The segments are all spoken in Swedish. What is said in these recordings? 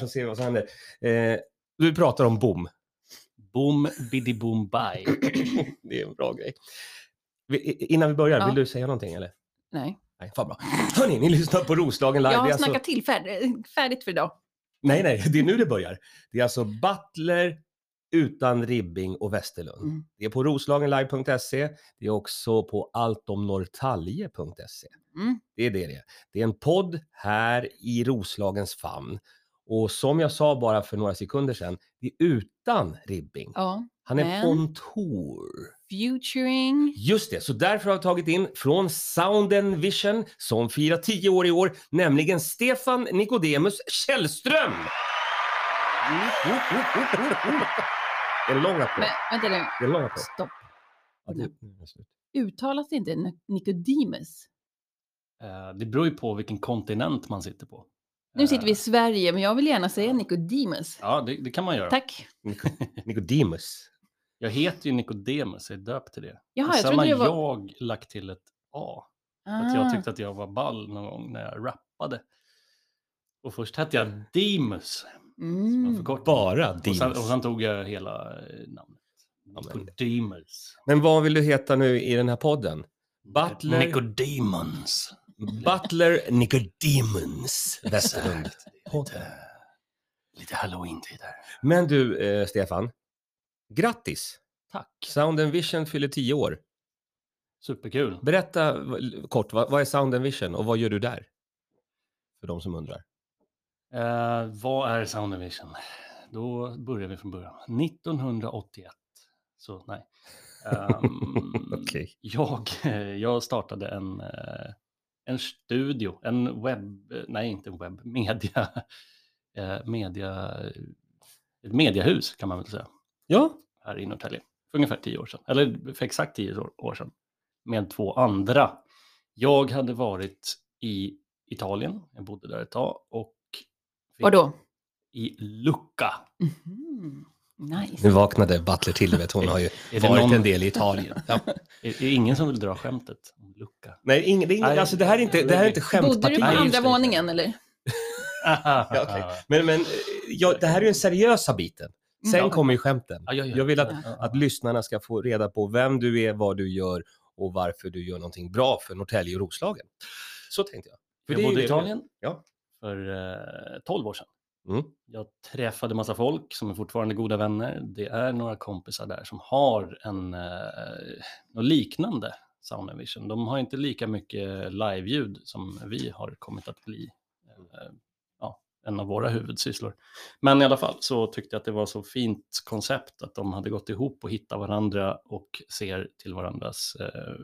så ser vi vad som händer. Eh, du pratar om bom. Boom, biddy boom, bye. det är en bra grej. Vi, i- innan vi börjar, Ja. vill du säga någonting eller? Nej. Nej, fan bra. Hörni, ni lyssnar på Roslagen live. jag har Det är alltså- snackat till färd- färdigt för idag. Nej, nej, det är nu det börjar. Det är alltså Butler utan Ribbing och Westerlund. Mm. Det är på roslagenlive.se. Det är också på alltomnorrtalje.se. Mm. Det är det det är. Det är en podd här i Roslagens famn. Och som jag sa bara för några sekunder sedan, det är utan Ribbing. Ja. Han är men- on tour. Futuring. Just det, så därför har vi tagit in från Sound Vision som firar 10 år i år, nämligen Stefan Nicodemus Källström! Det är en lång applåd. Men vänta nu. Det är en lång applåd. Stopp. Ja, det- nu är det Mm. slut. Uttalas det inte Nic- Nicodemus? Eh, Det beror ju på vilken kontinent man sitter på. Nu sitter vi i Eh, Sverige, men jag vill gärna säga Nicodemus. Ja, det, det kan man göra. Tack. Nico- Nicodemus. Jag heter ju Nikodemus, jag är döpt till det. Jaha, jag Sen har trodde det var... jag lagt till ett A. För att jag Ah. tyckte att jag var ball någon gång när jag rappade. Och först hette jag Demus. som en Mm. förkortning. Bara Och sen, och Demus. sen tog jag hela eh, namnet. men- Nicodemus. Men vad vill du heta nu i den här podden? Butler- Nicodemons. Mm. Butler Nicodemus Westerlund. Podden. Lite, lite halloween-tider. Men du, eh, Stefan. Grattis! Tack. Sound Vision fyller 10 år. Superkul. Berätta v- kort, vad, vad är Sound Vision och vad gör du där? För de som undrar. Eh, vad är Sound Vision? Då börjar vi från början. 1981. Så nej. Ehm, Mm. jag, jag startade en, eh, en studio, en webb, nej inte en webb, media, eh, media, ett mediahus kan man väl säga, Ja, här i Norrtälje. För ungefär tio år sedan, eller för exakt tio år, år sedan, med två andra. Jag hade varit i Italien, jag bodde där ett tag, och fick- Vadå? i Lucca. Mhm. Nice. nu vaknade Butler till, vet hon har ju Är det, varit någon, en del i Italien. Ja. är, är ingen som vill dra skämtet om Lucca? Nej, ing, det, är ing, Nej. alltså, det här är inte, det här är inte Bodde du skämtpartiet. på Nej, just andra det. våningen eller? Ja, okej. Men, men eh, ja, det här är ju den seriösa biten. Sen Mm. Ja. kommer ju skämten. Ja, ja, ja. Jag vill att, Ja. att lyssnarna ska få reda på vem du är, vad du gör och varför du gör någonting bra för Norrtälje och Roslagen. Så tänkte jag. För Jag det är ju det du bodde i gör. Italien Ja. för eh, 12 år sedan. Mm. Jag träffade massa folk som är fortfarande goda vänner. Det är några kompisar där som har en, eh, något liknande Sound and Vision. De har inte lika mycket liveljud som vi har kommit att bli. Eh, ja, en av våra huvudsysslor. Men i alla fall så tyckte jag att det var så fint koncept att de hade gått ihop och hittat varandra och ser till varandras eh,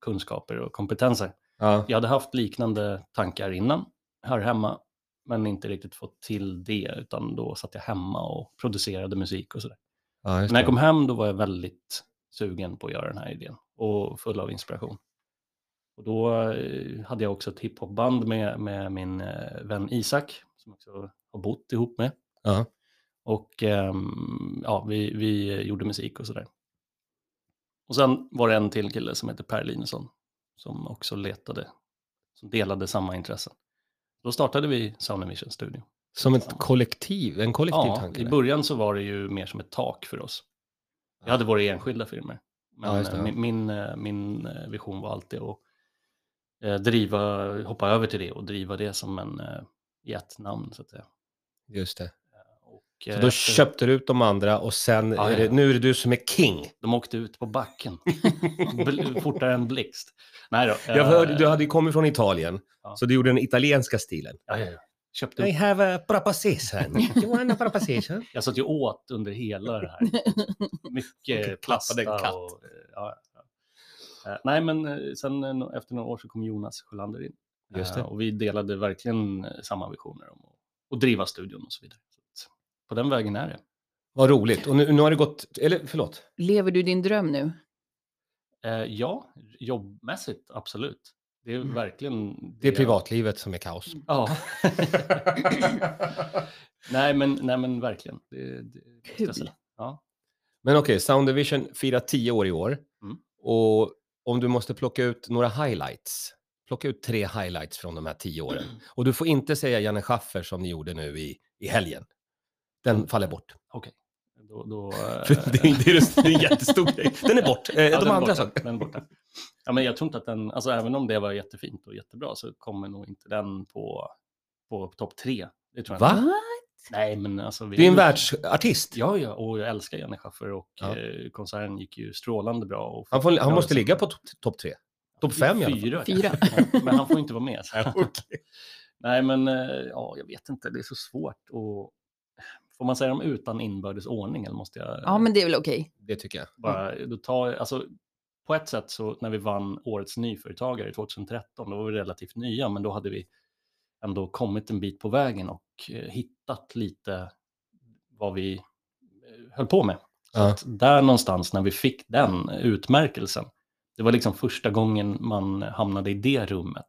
kunskaper och kompetenser. Ja. Jag hade haft liknande tankar innan här hemma, men inte riktigt fått till det, utan då satt jag hemma och producerade musik och sådär. Ja, just När jag det. kom hem då var jag väldigt sugen på att göra den här idén och full av inspiration. Och då eh, hade jag också ett hiphopband med, med min eh, vän Isak, som också har bott ihop med. Ja. Och ehm, ja, vi, vi gjorde musik och sådär. Och sen var det en till kille som heter Per Linusson som också letade, som delade samma intressen. Då startade vi Sound and Vision Studio. Som ett kollektiv, en kollektiv Ja, tanke. i där. början så var det ju mer som ett tak för oss. Vi Ja. hade våra enskilda filmer. Men Ja, just det, eh, ja. min, min, eh, min eh, vision var alltid att eh, driva, hoppa över till det och driva det som en, eh, i ett namn så att säga. Just det. Och, Så eh, då efter- köpte du ut de andra och sen, Ja, är ja, det, ja. nu är det du som är king. De åkte ut på backen. Bl- Fortare än blixt. Nej då. Jag hörde, eh, du hade ju kommit från Italien, Ja. så du gjorde den italienska stilen. ja, ja, ja. Köpte I upp. have a proposition. You want a proposition? Jag satt ju åt under hela det här. Mycket klappade plasta en katt. och... eh, Ja, ja. Eh, Nej, men eh, sen eh, no- efter några år så kom Jonas Sjölander in. Eh, Just det. Och vi delade verkligen eh, samma visioner om att- att driva studion och så vidare. Så att på den vägen är det. Vad roligt. Och nu, nu har det gått, eller förlåt. Lever du din dröm nu? Eh, Ja, jobbmässigt absolut. Det är Mm. verkligen... Det är jag- privatlivet som är kaos. Ja. nej, men, nej, men verkligen. Det, det, det ska jag Kul. säga. Ja. Men okej, Sound Division firar 10 år i år. Mm. Och om du måste plocka ut några highlights Plocka ut tre highlights från de här tio åren. Och du får inte säga Janne Schaffer som ni gjorde nu i, i helgen. Den faller bort. Då, då, eh, Mm. det, är, det, är, det är en jättestor grej. Den är bort. Eh, de ja, den är andra borta, sakerna. Den är borta. Ja, men jag tror inte att den, alltså även om det var jättefint och jättebra så kommer nog inte den på, på topp tre. Det tror jag Va? inte. Nej, men alltså. Vi Det är en ju- världsartist. Ja, ja, och jag älskar Janne Schaffer och Ja. eh, konserten gick ju strålande bra. Och Han, får, han Ja, måste så- ligga på topp top tre. Topp fem i alla fall. Fyra. Fyra. kanske. Ja, men han får inte vara med. Så. Nej, men eh, ja, jag vet inte. Det är så svårt. Och, får man säga dem utan inbördes ordning? Eller måste jag Ja, men det är väl okej. Det tycker jag. bara, då tar, alltså, på ett sätt så när vi vann årets nyföretagare 2013, då var vi relativt nya, men då hade vi ändå kommit en bit på vägen och eh, hittat lite vad vi eh, höll på med. Så Ja. att där någonstans när vi fick den utmärkelsen, det var liksom första gången man hamnade i det rummet.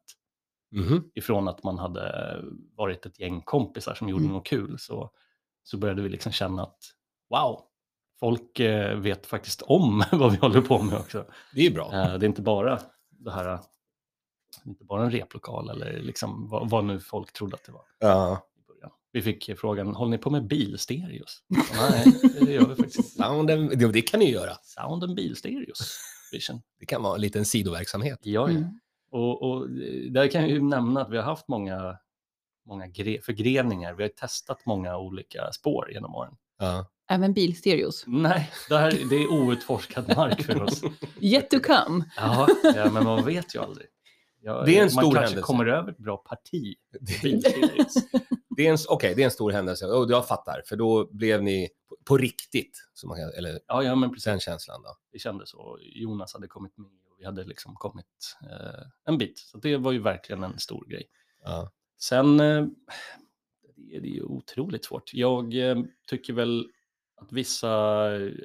Mhm. Ifrån att man hade varit ett gäng kompisar som gjorde Mm. något kul så, så började vi liksom känna att wow, folk eh, vet faktiskt om vad vi håller på med också. Det är ju bra. Eh, det är inte bara det här, eh, inte bara en replokal eller liksom vad, vad nu folk trodde att det var Ja. i början. Vi fick eh, frågan, håller ni på med bilstereos? Nej, det gör vi faktiskt inte. Sounden, jo, det kan ni ju göra. Sound and bilstereos. Vision. Det kan vara en liten sidoverksamhet. Ja, ja. Mm. Och, och eh, där kan jag ju nämna att vi har haft många, många gre- förgreningar. Vi har testat många olika spår genom åren. Ja. Även bilstereos. Nej, det, här, det är outforskad mark för oss. Yet to come. Ja, ja, men man vet ju aldrig. Ja, Det är en man stor kanske händelse. kommer över ett bra parti. Det, Bilseries. det, är en, s- okej, det är en stor händelse. Oh, jag fattar, för då blev ni på, på riktigt. Som man kan, eller Ja, ja, men precis. den känslan då. Det kändes så. Jonas hade kommit med och vi hade liksom kommit eh, en bit. Så det var ju verkligen en stor grej. Ja. Sen eh, det är det ju otroligt svårt. Jag eh, tycker väl att vissa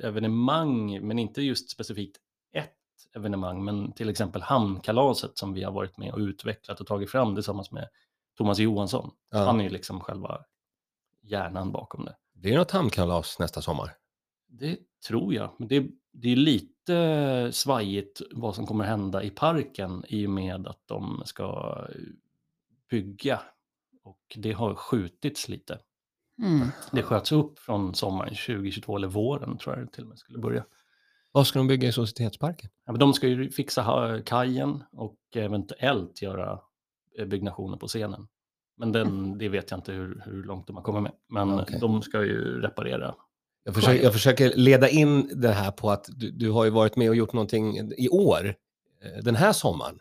evenemang, men inte just specifikt ett evenemang, men till exempel Hamnkalaset som vi har varit med och utvecklat och tagit fram tillsammans med Thomas Johansson. Han Ja. är ju liksom själva hjärnan bakom det. Blir det något hamnkalas nästa sommar? Det tror jag. Men det, det är lite svajigt vad som kommer hända i parken i och med att de ska bygga. Och det har skjutits lite. Mm. Det sköts upp från sommaren 2022, eller våren tror jag det till och med skulle börja. Vad ska de bygga i Societetsparken? Ja, men de ska ju fixa ha- kajen och eventuellt göra eh, byggnationer på scenen. Men den, det vet jag inte hur, hur långt de har kommit med. Men Okej. de ska ju reparera. Jag försöker, jag försöker leda in det här på att du, du har ju varit med och gjort någonting i år, eh, den här sommaren.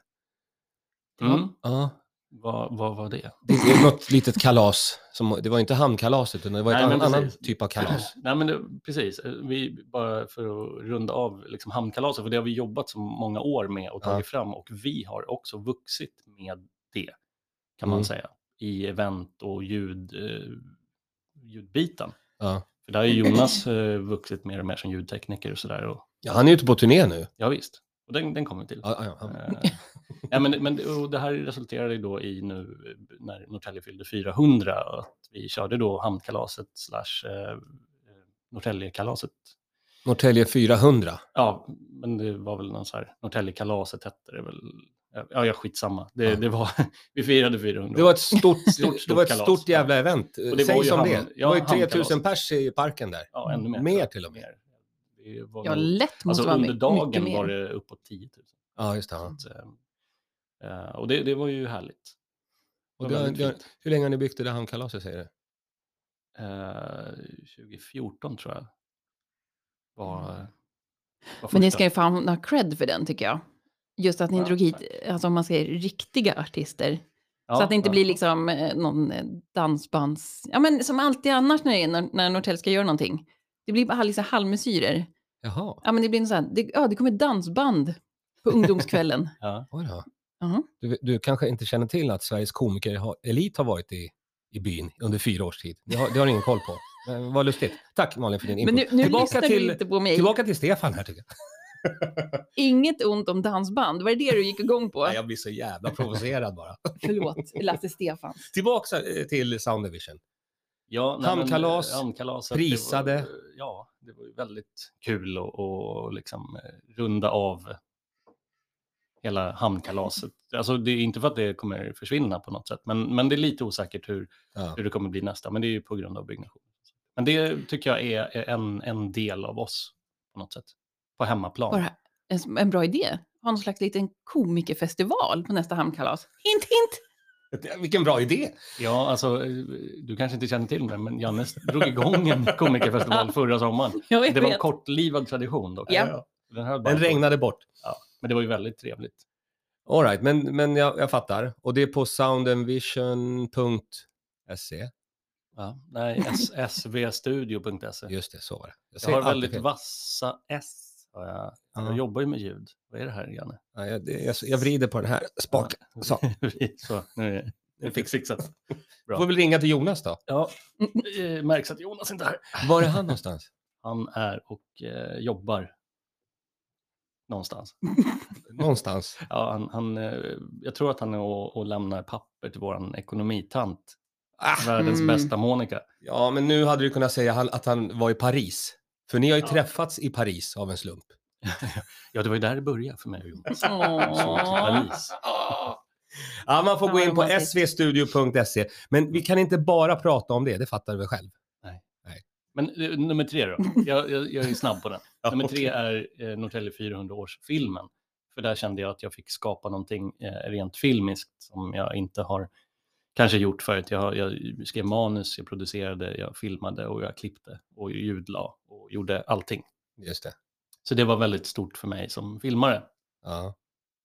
Mm. Ja. Vad, vad var det? Det är något litet kalas. Som, det var inte hamnkalaset, utan det var Nej, en men annan, annan precis. typ av kalas. Nej, men det, precis. Eh, Vi, bara för att runda av liksom, hamnkalaset, för det har vi jobbat så många år med och tagit fram och vi har också vuxit med det, kan Mm. man säga, i event och ljud, eh, ljudbiten. Ja. För där har ju Jonas eh, vuxit mer och mer som ljudtekniker och sådär. och- Ja, han är ute på turné nu. Ja, visst. Och den, den kommer vi till. Ja, ja, ja. Eh, ja, men, men och det här resulterade ju då i nu eh, när Norrtälje fyllde 400 och att vi körde då hamnkalaset slash eh, eh, Norrtäljekalaset. Norrtälje 400. Ja, men det var väl någon så här, Norrtäljekalaset hette det väl. Ja, ja skitsamma. Det, Ja. det var, vi firade 400. Det var ett stort, Stort, det var ett stort kalas. stort jävla event. det var Säg ju som hamn- det är. Det var ju ja, 3000 hamnkalaset. pers i parken där. ja, ännu mer. Mer till och med. Mer. Det var Ja, nog- lätt måste alltså, vara under mycket mycket dagen mer. var det uppåt 10 000. Ja, just det. Ja. Så, att, eh, eh, och det, det var ju härligt. Och Det du, var har- väldigt du, har- fint. hur länge har ni byggt det där hamnkalaset, säger du? Eh, 2014 tror jag. Var, var Mm. Men ni första. ska ju fan ha cred för den tycker jag. Just att ni Ja, drog hit, alltså om man säger riktiga artister. Ja, så att det inte ja. blir liksom eh, någon eh, dansbands... Ja men som alltid annars när, det är- när, när Norrtälje ska göra någonting. Det blir bara liksom halvmesyrer. Jaha, Ja men det blir en sån här, det, ja det kommer dansband på ungdomskvällen. Ja. oj då. Jaha. Du, du kanske inte känner till att Sveriges komiker har, elit har varit i, i byn under fyra års tid. Det har, det har du ingen koll på. Men vad lustigt. Tack Malin för din input. men nu, nu tillbaka, lyssnar till, du inte på mig. tillbaka till Stefan här tycker jag. Inget ont om dansband, var det det du gick igång på? Nej, jag blir så jävla provocerad bara. Förlåt, Lasse Stefans. Tillbaka eh, till Sound Division. Ja, nej, men, Hamnkalas, eh, hamnkalaset, prisade. Det var, eh, ja, det var ju väldigt kul att och liksom eh, runda av hela hamnkalaset. Alltså, det är inte för att det kommer försvinna på något sätt, men, men det är lite osäkert hur, Ja. hur det kommer bli nästa, men det är ju på grund av byggnation. Men det tycker jag är är en, en del av oss på något sätt, på hemmaplan. Bara en, en bra idé. Ha någon slags liten komikerfestival på nästa hamnkalas. Hint, hint! Vilken bra idé! Ja, alltså, eh, du kanske inte känner till det, men Jannes drog igång en komikerfestival förra sommaren. Ja, jag Det var en vet. kortlivad tradition dock. Ja. Den här Den bara- regnade bort. Men det var ju väldigt trevligt. All right, men, men jag, jag fattar. Och det är på soundandvision.se. Ja, nej, s- svstudio.se. Just det, så var det. Jag, E. Jag säger har alltid väldigt fel. vassa S. har Jag, jag Ja. jobbar ju med ljud. Vad är det här, Janne? Ja, jag, det- jag, jag vrider på den här spaken. Så. Så, nu är det- nu fick fixat. Du Bra. får väl ringa till Jonas då. Ja, eh, märks att Jonas inte är här. Var är han någonstans? Han är och eh, jobbar någonstans. Någonstans. Ja, han, han, eh, jag tror att han är och, och lämnar papper till vår ekonomitant, Ah, världens Mm. bästa Monica. ja, men nu hade du kunnat säga han- att han var i Paris. För ni har ju Ja. träffats i Paris av en slump. Ja, det var ju där det började för mig och Jonas. Ah. Så till Åh. Paris. Ja, man får Fan, gå vad in på romantiskt. svstudio.se. Men vi kan inte bara prata om det, det fattar du väl själv? Men eh, nummer tre då? Jag, jag, jag är snabb på den. Ja, nummer okej. tre är eh, Norrtälje 400-årsfilmen. För där kände jag att jag fick skapa någonting eh, rent filmiskt som jag inte har kanske gjort förut. Jag, har- jag skrev manus, jag producerade, jag filmade och jag klippte och ljudlade och gjorde allting. Just det. Så det var väldigt stort för mig som filmare. Ja.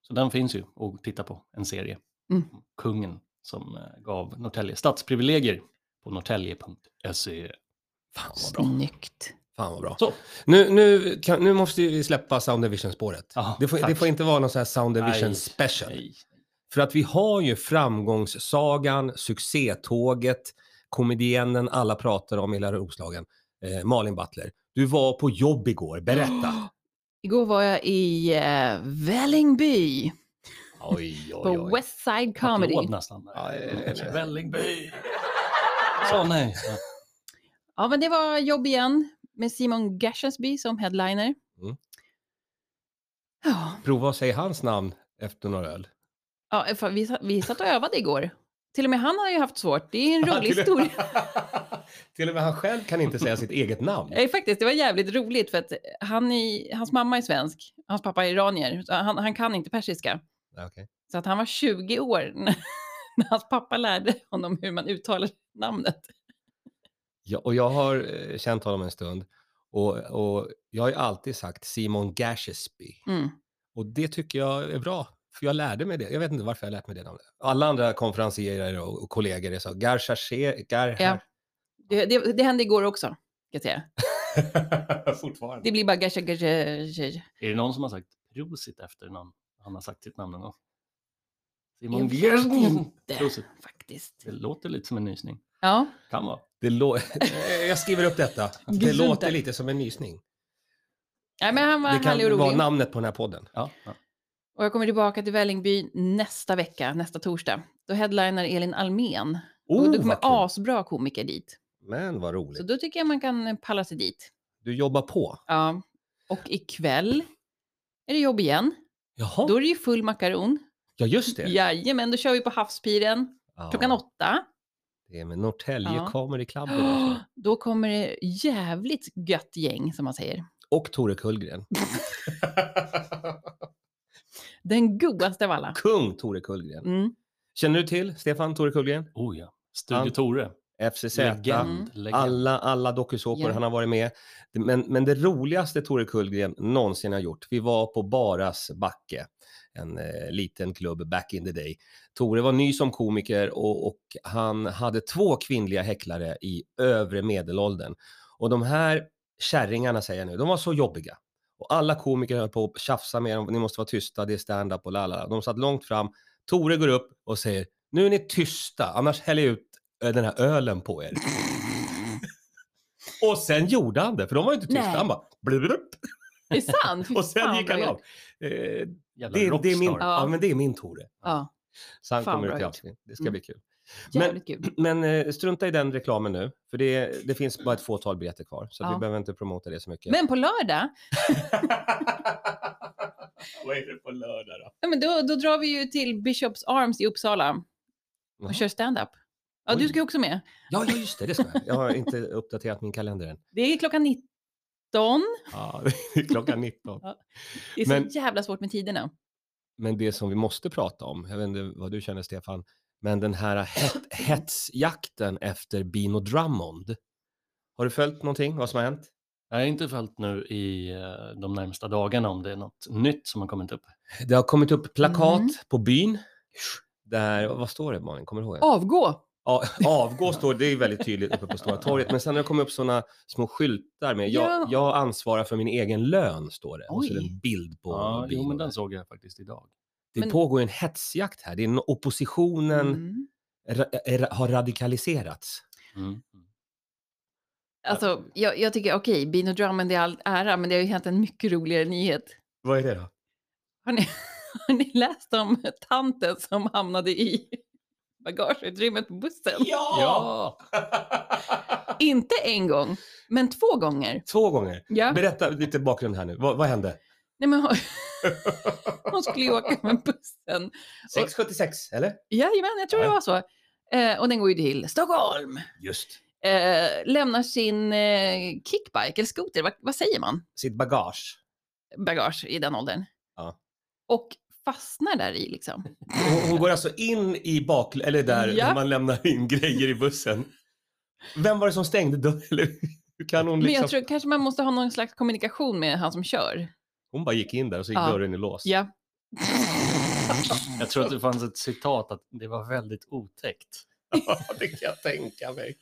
Så den finns ju att titta på, en serie. Mm. Kungen som eh, gav Norrtälje stadsprivilegier på norrtälje.se. Fan vad bra. Snyggt. Fan vad bra. Så. Nu, nu, kan, nu måste vi släppa Sound and Vision-spåret. Ja, det, får, det tack. får inte vara någon sån här Sound and Nej, Vision special. nej. För att vi har ju framgångssagan, succétåget, komediennen alla pratar om i Lilla Roslagen, eh, Malin Butler. Du var på jobb igår, berätta. Igår var jag i eh, Vällingby Oj, på West Side Comedy. Applåd nästan. där. Ja, ja, ja, ja. Vällingby. Så nej. Ja. Ja, men det var jobb igen med Simon Gashensby som headliner. Mm. Ja, Prova att säga hans namn efter några öl. ja för vi, sa- vi satt och övade igår. Till och med han har ju haft svårt. Det är en rolig Till och- historia. Till och med han själv kan inte säga sitt eget namn. Eh. Nej, Eh, faktiskt, det var jävligt roligt för att eh, han är, hans mamma är svensk, hans pappa är iranier. Så han, han kan inte persiska. Nej, okej. Så att han var 20 år när, när hans pappa lärde honom hur man uttalar namnet. Ja, och jag har eh, känt honom en stund och, och jag har ju alltid sagt Simon Gashesby. Mm. Och det tycker jag är bra, för jag lärde mig det. Jag vet inte varför jag lärt mig det namnet. Alla andra konferencierare och, och kollegor är så, Garchaché, Ja. Garhar. Det, det, det hände igår också, kan jag säga. Fortfarande. Det blir bara gasha, gasha, gasha. Är det någon som har sagt prosit efter någon? Han har sagt sitt namn någon gång. Simon Jag vet Giersning. inte. Prosit. Faktiskt. Det låter lite som en nysning. Ja. Kan vara. Det lå- Eh, jag skriver upp detta. Det Gud, låter där. lite som en nysning. Nej, men han var Det härlig och kan vara rolig. namnet på den här podden. Ja, ja. Och jag kommer tillbaka till Vällingby nästa vecka, nästa torsdag. Då headliner Elin Almen. och då Oh, kommer vad kul. asbra komiker dit. Men vad Så roligt. då tycker jag man kan palla sig dit. Du jobbar på. Ja. Och ikväll är det jobb igen. Jaha, Då är det ju full makaron. ja just det. Jajamän, då kör vi på Havspiren Ja, klockan åtta. Det är med Norrtälje Ja. Comedy Club. idag, så. Då kommer det jävligt gött gäng som man säger. Och Tore Kullgren. Den godaste av alla. Kung Tore Kullgren. Mm. Känner du till Stefan Tore Kullgren? Oh ja. Studio Han- Tore. FCZ. Mm. Legend. legend. Alla, alla dokusåpor Ja. han har varit med. Men, men det roligaste Tore Kullgren någonsin har gjort, vi var på Baras backe, en eh, liten klubb back in the day. Tore var ny som komiker och, och han hade två kvinnliga häcklare i övre medelåldern. Och de här kärringarna säger jag nu, de var så jobbiga. Och alla komiker höll på att tjafsa med dem, ni måste vara tysta, det är stand-up och lalala. De satt långt fram, Tore går upp och säger, nu är ni tysta, annars häller jag ut eh, den här ölen på er. Och sen gjorde han det, för de var ju inte tysta. Nej. Han bara blublup, Det är sant. Fy och sen fan, gick vad han gött. av. Eh, Jävla det, är- det, är min, rockstar. ja. Ja. men det är min Tore. Ja, Så han Fan, kommer bra ut i gjort. avsnitt. Det ska Mm. bli kul. Men- jävligt kul. Men eh, strunta i den reklamen nu, för det, det finns bara ett fåtal biljetter kvar. Så att Ja. vi behöver inte promota det så mycket. Men på lördag Vad är det på lördag då? Ja, men då, då drar vi ju till Bishops Arms i Uppsala och Jaha. kör stand-up. Ja, du Oj. ska ju också med. Ja, ja just det, det ska jag. Jag har inte uppdaterat min kalender än. Det är klockan 19. Ja, det är klockan 19. Det är Men- så jävla svårt med tiderna. Men det som vi måste prata om, jag vet inte vad du känner Stefan, men den här het, hetsjakten efter Bino Drummond. Har du följt någonting, vad som har hänt? Jag har inte följt nu i eh, de närmsta dagarna om det är något nytt som har kommit upp. Det har kommit upp plakat Mm. på byn. Där, vad står det Malin, kommer du ihåg? det? Avgå! Ja, avgå står det, det är väldigt tydligt uppe på Stora torget. Men sen har det kommit upp sådana små skyltar med Ja. jag, jag ansvarar för min egen lön, står det. Och så är det Oj. en bild på Ja, jo, Bino men där. den såg jag faktiskt idag. Det Men- pågår ju en hetsjakt här. Det är en, oppositionen Mm. ra, eh, ra, har radikaliserats. Mm. Alltså, jag, jag tycker okej, Bino Drummond är all ära, men det har ju hänt en mycket roligare nyhet. Vad är det då? Har ni, har ni läst om tanten som hamnade i bagageutrymmet på bussen? Ja! Inte en gång, men två gånger. Två gånger. Ja. Berätta lite bakgrund här nu. Vad, vad hände? Nej, men hon, hon skulle ju åka med bussen. 676, eller? Jajamän, jag tror det Ja. var så. Eh, och den går ju till Stockholm. Just. Eh, lämnar sin eh, kickbike, eller skoter, vad, vad säger man? Sitt bagage. Bagage i den åldern. Ja. Och fastnar där i liksom. Hon, hon går alltså in i bak... Eller där Ja. där man lämnar in grejer i bussen. Vem var det som stängde dörren? Eller hur kan hon Men liksom... jag tror kanske man måste ha någon slags kommunikation med han som kör. Hon bara gick in där och så gick Ja. dörren i lås. Ja. Jag tror att det fanns ett citat att det var väldigt otäckt. Ja, det kan jag tänka mig.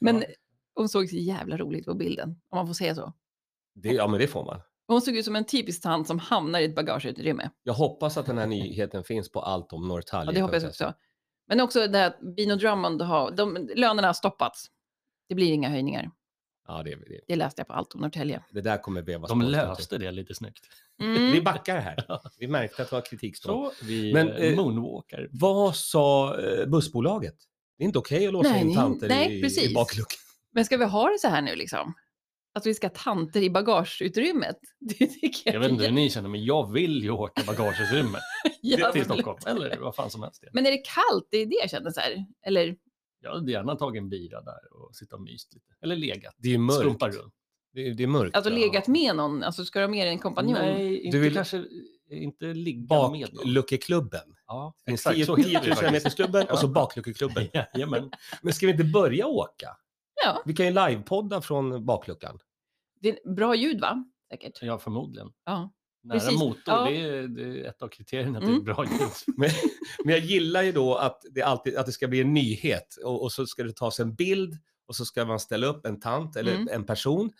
Men hon såg så jävla roligt på bilden, om man får säga så. Det, ja, men det får man. Hon såg ut som en typisk tant som hamnar i ett bagageutrymme. Jag hoppas att den här nyheten finns på allt om Norrtälje. Ja, det hoppas jag också. Men också det här att Bino Drummond har, de, lönerna har stoppats. Det blir inga höjningar. Ja, det, det, Det läste jag på Allt om Norrtälje. det där kommer vevas De bort. löste det lite snyggt. Vi Mm. backar här. Vi märkte att det var kritikstorm. Så vi Men, Men, eh, moonwalkar. Vad sa eh, bussbolaget? Det är inte okej att låsa Nej, in nej, tanter nej, i, precis. i bakluckan. Men ska vi ha det så här nu liksom? Att vi ska ha tanter i bagageutrymmet? Det tycker jag, Jag vet inte är hur ni känner, men jag vill ju åka bagageutrymmet jävla- till Stockholm. Eller vad fan som helst. Men är det kallt? Det är det jag känner så här. Eller Jag hade gärna tagit en bira där och sitta och myst lite. Eller legat. Det är ju Skumpa mörkt. runt. Det är, det är mörkt. alltså ja. legat med någon? Alltså ska du ha med dig en kompanjon? Nej, inte Du vill- kanske eh, inte ligga med någon. Bakluckeklubben. Ja, Det finns exakt 10 så 000 heter det faktiskt. metersklubben och så Ja. bakluckeklubben. Jajamän. Men ska vi inte börja åka? Ja. Vi kan ju livepodda från bakluckan. Det är bra ljud va? Säkert. Ja, förmodligen. Ja. Nära Precis. motor, Ja. det, är, det är ett av kriterierna till Mm. bra ljud. Men, men jag gillar ju då att det, alltid, att det ska bli en nyhet och, och så ska det tas en bild och så ska man ställa upp en tant eller Mm. en person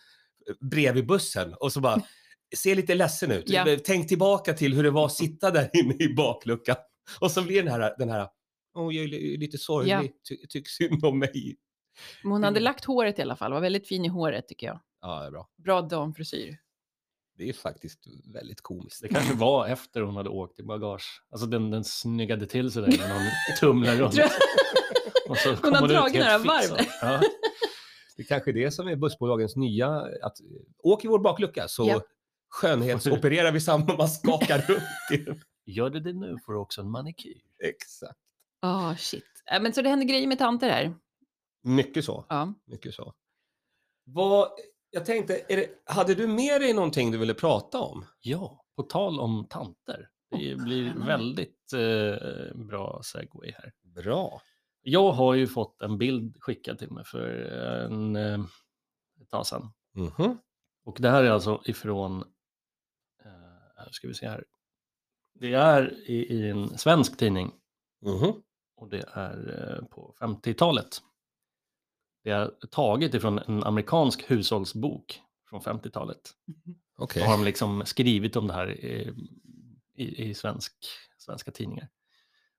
eh, bredvid bussen och så bara se lite ledsen ut. Ja. Tänk tillbaka till hur det var att sitta där inne i bakluckan och så blir den här, den här Åh, jag är li- lite sorglig, Ja. ty, tyck synd om mig. Men hon hade lagt håret i alla fall. Var väldigt fin i håret tycker jag. Ja, det är bra. Bra damfrisyr. Det är faktiskt väldigt komiskt. Det kanske var efter hon hade åkt i bagage. Alltså den, den snyggade till sig där när hon tumlade runt. Tror jag- Och så har ut dragit helt några varv. fixad. Ja. Det kanske är det som är bussbolagens nya, att eh, åk i vår baklucka så Ja. skönhetsopererar vi samma, man skakar runt i den. Gör du det nu får du också en manikyr. Exakt. Ah shit. Äh, men så det händer grejer med tanter här. Mycket så, Ja. mycket så. Vad, jag tänkte, är det, hade du med dig någonting du ville prata om? Ja, på tal om tanter. Det blir spännande. väldigt eh, bra segway här. Bra. Jag har ju fått en bild skickad till mig för en, eh, ett tag sedan. Mhm. Och det här är alltså ifrån, eh, nu ska vi se här. Det är i, i en svensk tidning Mhm. och det är eh, på 50-talet. Det är taget ifrån en amerikansk hushållsbok från 50-talet. Okej. Då har de liksom skrivit om det här eh, i, i svensk, svenska tidningar.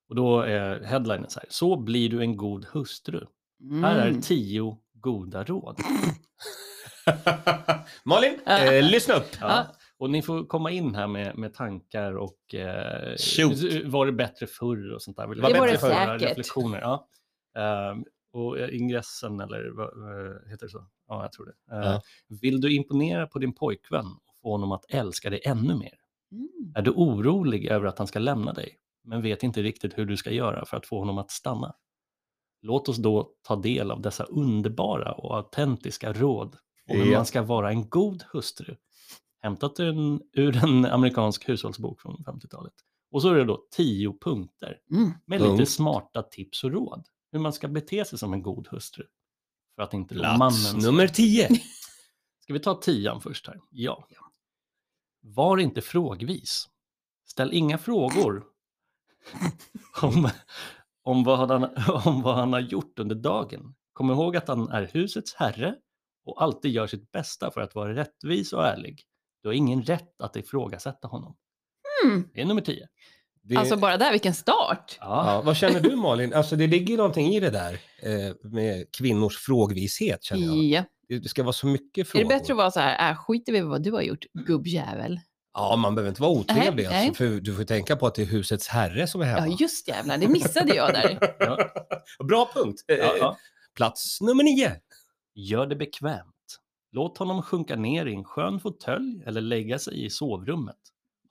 Och då är headlinen så här, så blir du en god hustru. Mm. Här är tio goda råd. Malin, eh, lyssna upp. Ja. Och ni får komma in här med, med tankar och eh, Shoot. var det bättre förr och sånt där. Vill Det jag var ha det förra säkert. Reflektioner. Ja. Ehm, och eh, ingressen eller vad eh, heter det så? Ja, jag tror det. Eh, Ja. Vill du imponera på din pojkvän och få honom att älska dig ännu mer? Mm. Är du orolig över att han ska lämna dig, men vet inte riktigt hur du ska göra för att få honom att stanna? Låt oss då ta del av dessa underbara och autentiska råd om hur Ja. man ska vara en god hustru. Hämtat ur en, ur en amerikansk hushållsbok från 50-talet. Och så är det då tio punkter Mm. med lite Punkt. smarta tips och råd hur man ska bete sig som en god hustru. För att inte Plats mannen ska nummer 10. Ska vi ta tian först här? Ja. Var inte frågvis. Ställ inga frågor om, om, vad han, om vad han har gjort under dagen. Kom ihåg att han är husets herre och alltid gör sitt bästa för att vara rättvis och ärlig. Du har ingen rätt att ifrågasätta honom. Mm. Det är nummer tio. Det, Alltså bara där, vilken start. ja, vad känner du Malin? Alltså det ligger ju någonting i det där eh, med kvinnors frågvishet känner jag. Ja. Det- Det ska vara så mycket Är frågor. det bättre att vara så här, äh, skiter vi i vad du har gjort, gubbjävel? Ja, man behöver inte vara otrevlig. Nej, alltså, för du får ju tänka på att det är husets herre som är Ja, hemma. just jävlar, det missade jag där. Bra punkt. Eh, Ja, ja. Plats nummer nio. Gör det bekvämt. Låt honom sjunka ner i en skön fåtölj eller lägga sig i sovrummet.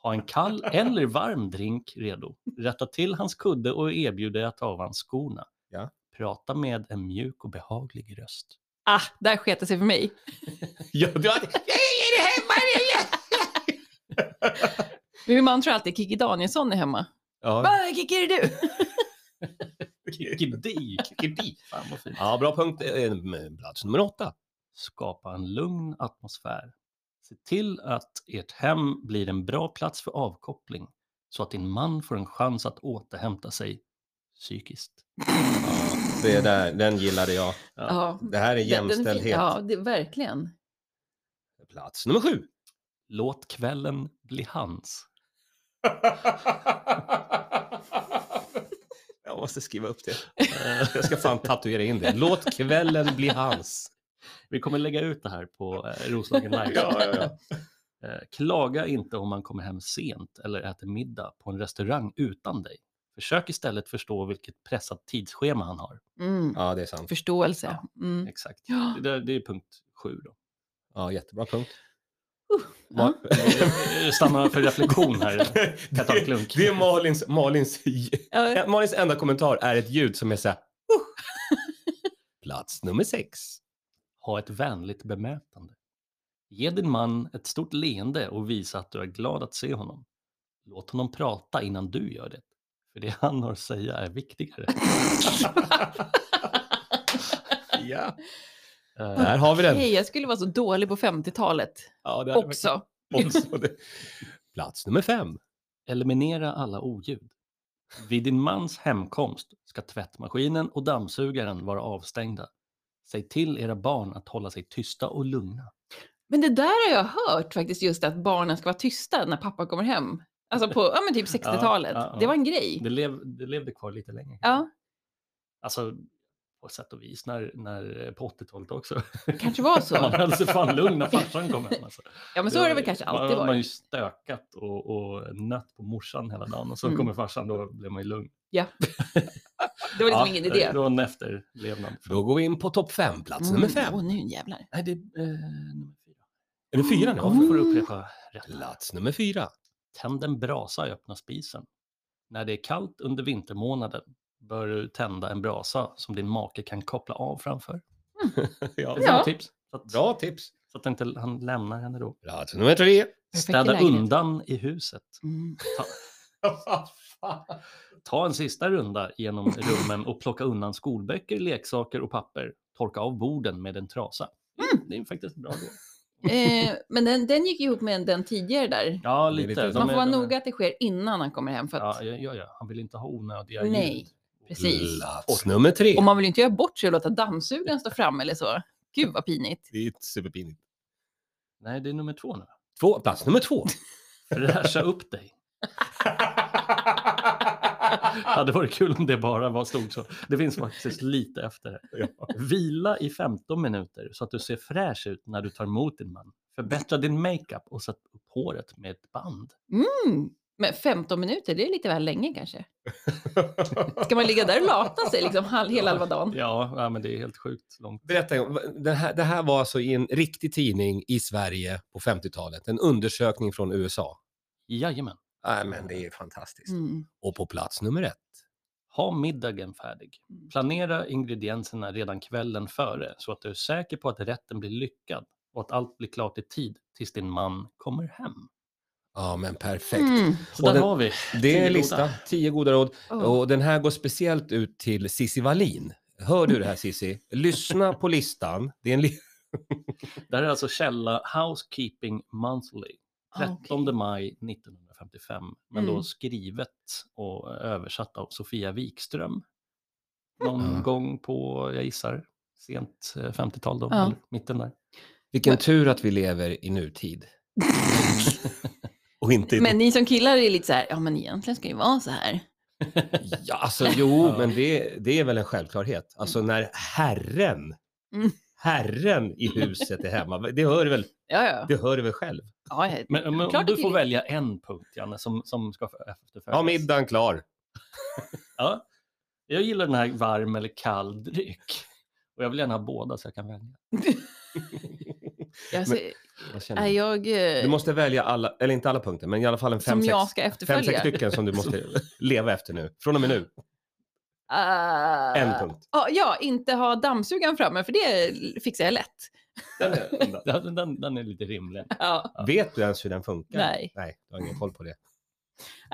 Ha en kall eller varm drink redo. Rätta till hans kudde och erbjud dig att ta av hans skorna. Ja. Prata med en mjuk och behaglig röst. Ah, där sket det sig för mig. Ja, du har... Är det hemma? Min man tror alltid Kikki Danielsson är hemma. Ja. Vad Kikki är det du? Kikidi, kikidi. Fan vad fint. ja, bra punkt. Eh, Plats nummer åtta. Skapa en lugn atmosfär. Se till att ert hem blir en bra plats för avkoppling så att din man får en chans att återhämta sig psykiskt. Det där, den gillade jag. Ja, Det här är den- den är fin. jämställdhet. Ja, det, verkligen. Plats nummer sju. Låt kvällen bli hans. Jag måste skriva upp det. Eh, Jag ska fan tatuera in det. Låt kvällen bli hans. Vi kommer lägga ut det här på eh, Roslagen Live. Ja, ja, ja. Eh, Klaga inte om man kommer hem sent eller äter middag på en restaurang utan dig. Försök istället förstå vilket pressat tidsschema han har. Mm. Ja, det är sant. Förståelse. Mm. Exakt. Ja. Det, där, det är punkt sju då. Ja, jättebra punkt. Ja. Eh, Stanna för reflektion här. Jag tar en klunk. Det är Malins, Malins, Malins enda kommentar är ett ljud som är så här. "Uh." Plats nummer sex. Ha ett vänligt bemötande. Ge din man ett stort leende och visa att du är glad att se honom. Låt honom prata innan du gör det. För det han har att säga är viktigare. Ja, Eh, där har vi den. Hej, jag skulle vara så dålig på 50-talet Ja, där har vi också. också det. Plats nummer fem. Eliminera alla oljud. Vid din mans hemkomst ska tvättmaskinen och dammsugaren vara avstängda. Säg till era barn att hålla sig tysta och lugna. Men det där har jag hört faktiskt, just att barnen ska vara tysta när pappa kommer hem. Alltså på ja, men typ 60-talet. Ja, ja, ja. Det var en grej. Det, lev, det levde kvar lite längre. Ja, Alltså, på sätt och vis när, när, eh, på 80-talet också. det kanske var Man så. höll sig fan lugn när farsan kom hem. Alltså. Ja, men så har det väl kanske alltid man, Man har ju varit. stökat och, och nött på morsan hela dagen och så Mm. kommer farsan, då blir man ju lugn. Det var liksom Ja, ingen idé. Det var en efterlevnad. Då går vi in på topp fem. Alltså, Plats nummer fem. Åh, nu jävlar. Nej, det är eh, nummer fyra. Är det fyra nu? Ja, Mm. vi får upprepa rätt. Plats nummer fyra. Tänd en brasa i öppna spisen. När det är kallt under vintermånaden bör du tända en brasa som din make kan koppla av framför. Ja. Det är Ja. ett tips. Så att, Bra tips. så att inte han lämnar henne då. Plats nummer tre. Perfekt i Städa lägenhet. undan i huset. Mm. Ta en sista runda genom rummen och plocka undan skolböcker, leksaker och papper. Torka av borden med en trasa. Mm. Det är faktiskt bra då. Eh, men den, den gick ihop med den tidigare där. Ja, Det är lite. lite- De Man är- får vara de är- noga att det sker innan han kommer hem. För att, Ja, ja, ja, ja. Han vill inte ha onödiga Nej, ljud. precis. Plats nummer tre. Och man vill ju inte göra bort sig och låta dammsugaren stå fram eller så. Gud vad pinigt. Det är superpinigt. Nej, det är nummer två nu. Två, plats nummer två. Fräscha upp dig. Hade varit kul om det bara var stort så. Det finns faktiskt lite efter. Ja. Vila i 15 minuter så att du ser fräsch ut när du tar emot din man. Förbättra din makeup och sätt upp håret med ett band. Mm. Men 15 minuter, det är lite väl länge kanske. Ska man ligga där och lata sig liksom hal- hela halva dagen? Ja, ja, men det är helt sjukt långt. Berätta, det här, det här var alltså i en riktig tidning i Sverige på 50-talet. En undersökning från USA. Jajamän. Nej, men det är fantastiskt. Mm. Och på plats nummer ett. Ha middagen färdig. Mm. Planera ingredienserna redan kvällen före så att du är säker på att rätten blir lyckad och att allt blir klart i tid tills din man kommer hem. Ja, men perfekt. Mm. Så Och där den- har vi. Det tio är goda. en lista, tio goda råd. Åh. Och den här går speciellt ut till Sissi Wallin. Hör du det här Sissi? Lyssna på listan. Det är en li- Det här är alltså källa Housekeeping Monthly. 13 Ah, okej. maj 1955, men Mm. då skrivet och översatt av Sofia Wikström. Någon Mm. gång på, jag gissar, sent eh, 50-tal då, Ja. eller mitten där. Vilken tur att vi lever i nutid. Och inte i... Men ni som killar är lite så här, ja men egentligen ska det ju vara så här. Ja, alltså, jo, men det, det är väl en självklarhet. Alltså när herren, Mm. herren i huset är hemma. Det hör du väl, Ja, ja. det hör du väl själv? ja jag- Men, men om Klart du det får är- välja en punkt, Janne, som, som ska för- efterföljas. Ja, middagen klar. Ja. Jag gillar den här varm eller kall dryck. Och jag vill gärna ha båda så jag kan välja. jag, ser- Vad känner nej, du? jag, eh, Du måste välja alla, eller inte alla punkter, men i alla fall en fem, som sex, jag ska fem, efterfölja. sex stycken som du måste leva efter nu. Från och med nu, Ah. en punkt. Ja, ja, inte ha dammsugaren framme, för det fixar jag lätt. Den är undan. Den, den, den är lite rimlig. Ja, Ja. Vet du ens hur den funkar? nej. Nej, du har ingen koll på det.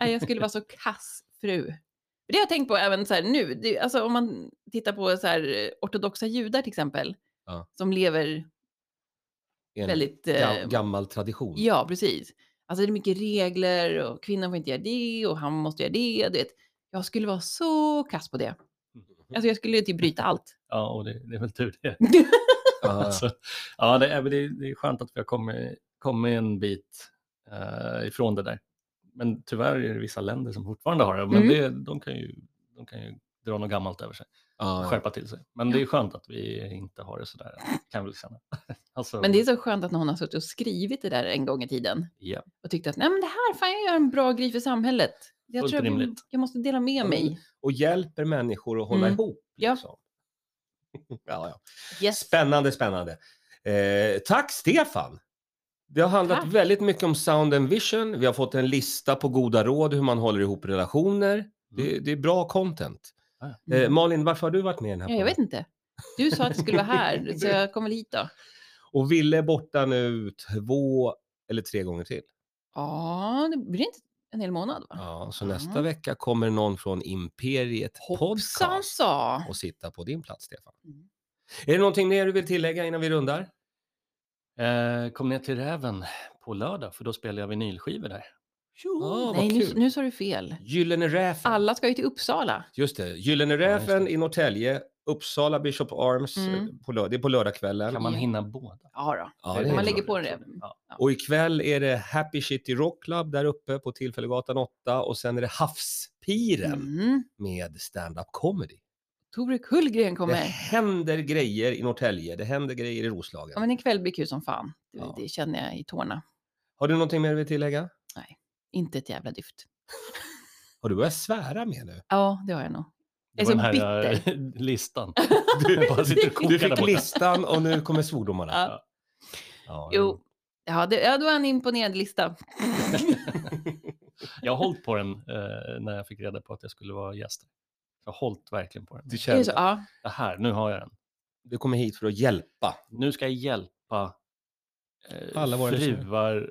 nej, jag skulle vara så kass fru. För Det har jag tänkt på även så här nu, det, alltså om man tittar på så här eh, ortodoxa judar till exempel, Ja. som lever En väldigt... ga- Eh, gammal tradition. ja, precis. Alltså det är mycket regler och kvinnan får inte göra det och han måste göra det. Du vet. Jag skulle vara så kass på det. Alltså jag skulle typ bryta allt. Ja, och det, det är väl tur det. Ja, Alltså, ja, det, är, men det, är- det är skönt att vi har kommit, kommit en bit eh, ifrån det där. Men tyvärr är det vissa länder som fortfarande har det. Men Mm. det, de, kan ju, de kan ju dra något gammalt över sig och ja. skärpa till sig. Men det är skönt att vi inte har det så där. Kan jag väl känna. Alltså, Men det är så skönt att någon har suttit och skrivit det där en gång i tiden ja. och tyckte att nej men det här, fan jag gör en bra grej för samhället. Jag Fullt tror jag, vill- rimligt. jag måste dela med men- mig. Och hjälper människor att hålla Mm. ihop. Ja. Liksom. Ja. ja, Yes. Spännande, spännande. Eh, tack Stefan! Det har handlat Tack. väldigt mycket om sound and vision. Vi har fått en lista på goda råd hur man håller ihop relationer. mm. Det, det är bra content. Mm. Eh, Malin, varför har du varit med i den här Ja, jag vet inte. Du sa att jag skulle vara här, så jag kommer hit då. Och Ville är borta nu två eller tre gånger till. Ja, det blir inte en hel månad va? Ja, så Ja. nästa vecka kommer någon från Imperiet Hoppsan Podcast sa. och sitta på din plats, Stefan. Mm. Är det någonting mer du vill tillägga innan vi rundar? Eh, kom ner till Räven på lördag, för då spelar jag vinylskivor där. Jo, ah, Nej, vad nu, kul. nu sa du fel. Gyllene Räfen. Alla ska ju till Uppsala. Just det, Gyllene Ja, just det. Räfen i Norrtälje, Uppsala Bishop Arms, Mm. eh, på lö- det är på lördagskvällen. Kan man Ja. hinna båda? Ja då. Ja, Det är det Om man är roligt. lägger bra. på en räv. Ja. och ikväll är det Happy City Rock Club där uppe på Tillfällegatan 8 och sen är det Havspiren Mm. med stand-up comedy. Tore Kullgren Det kommer. händer grejer i Norrtälje, det händer grejer i Roslagen. Ja, men ikväll blir kul som fan. Det, Ja. det känner jag i tårna. Har du någonting mer du vill tillägga? Inte ett jävla dyft. Har du börjat svära mer nu? Ja, det har jag nog. Det Jag var är den här så eh, listan. Du, Bara sitter och kokar du där fick borta. listan och nu kommer svordomarna. Ja. Ja, Jo, ja, det, ja, det var en imponerande lista. Jag har hållit på den eh, när jag fick reda på att jag skulle vara gäst. Jag har hållit verkligen på den. Du Det är så, känner, ja. Det här, nu har jag den. du kommer hit för att hjälpa. Nu ska jag hjälpa eh, Alla våra fruar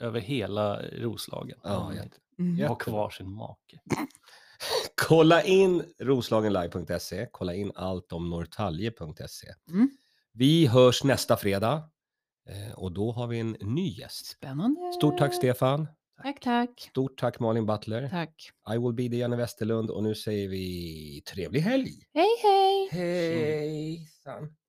över hela Roslagen. Ja, Ja, jätte- Mm. Ja. ha kvar sin make. Kolla in roslagenlive.se, kolla in allt om norrtalje.se. Mm. Vi hörs nästa fredag eh, och då har vi en ny gäst. Spännande. Stort tack Stefan, Tack, tack. stort tack Malin Butler, Tack. I will be the Janne Westerlund och nu säger vi trevlig helg! Hej, hej. Hejsan!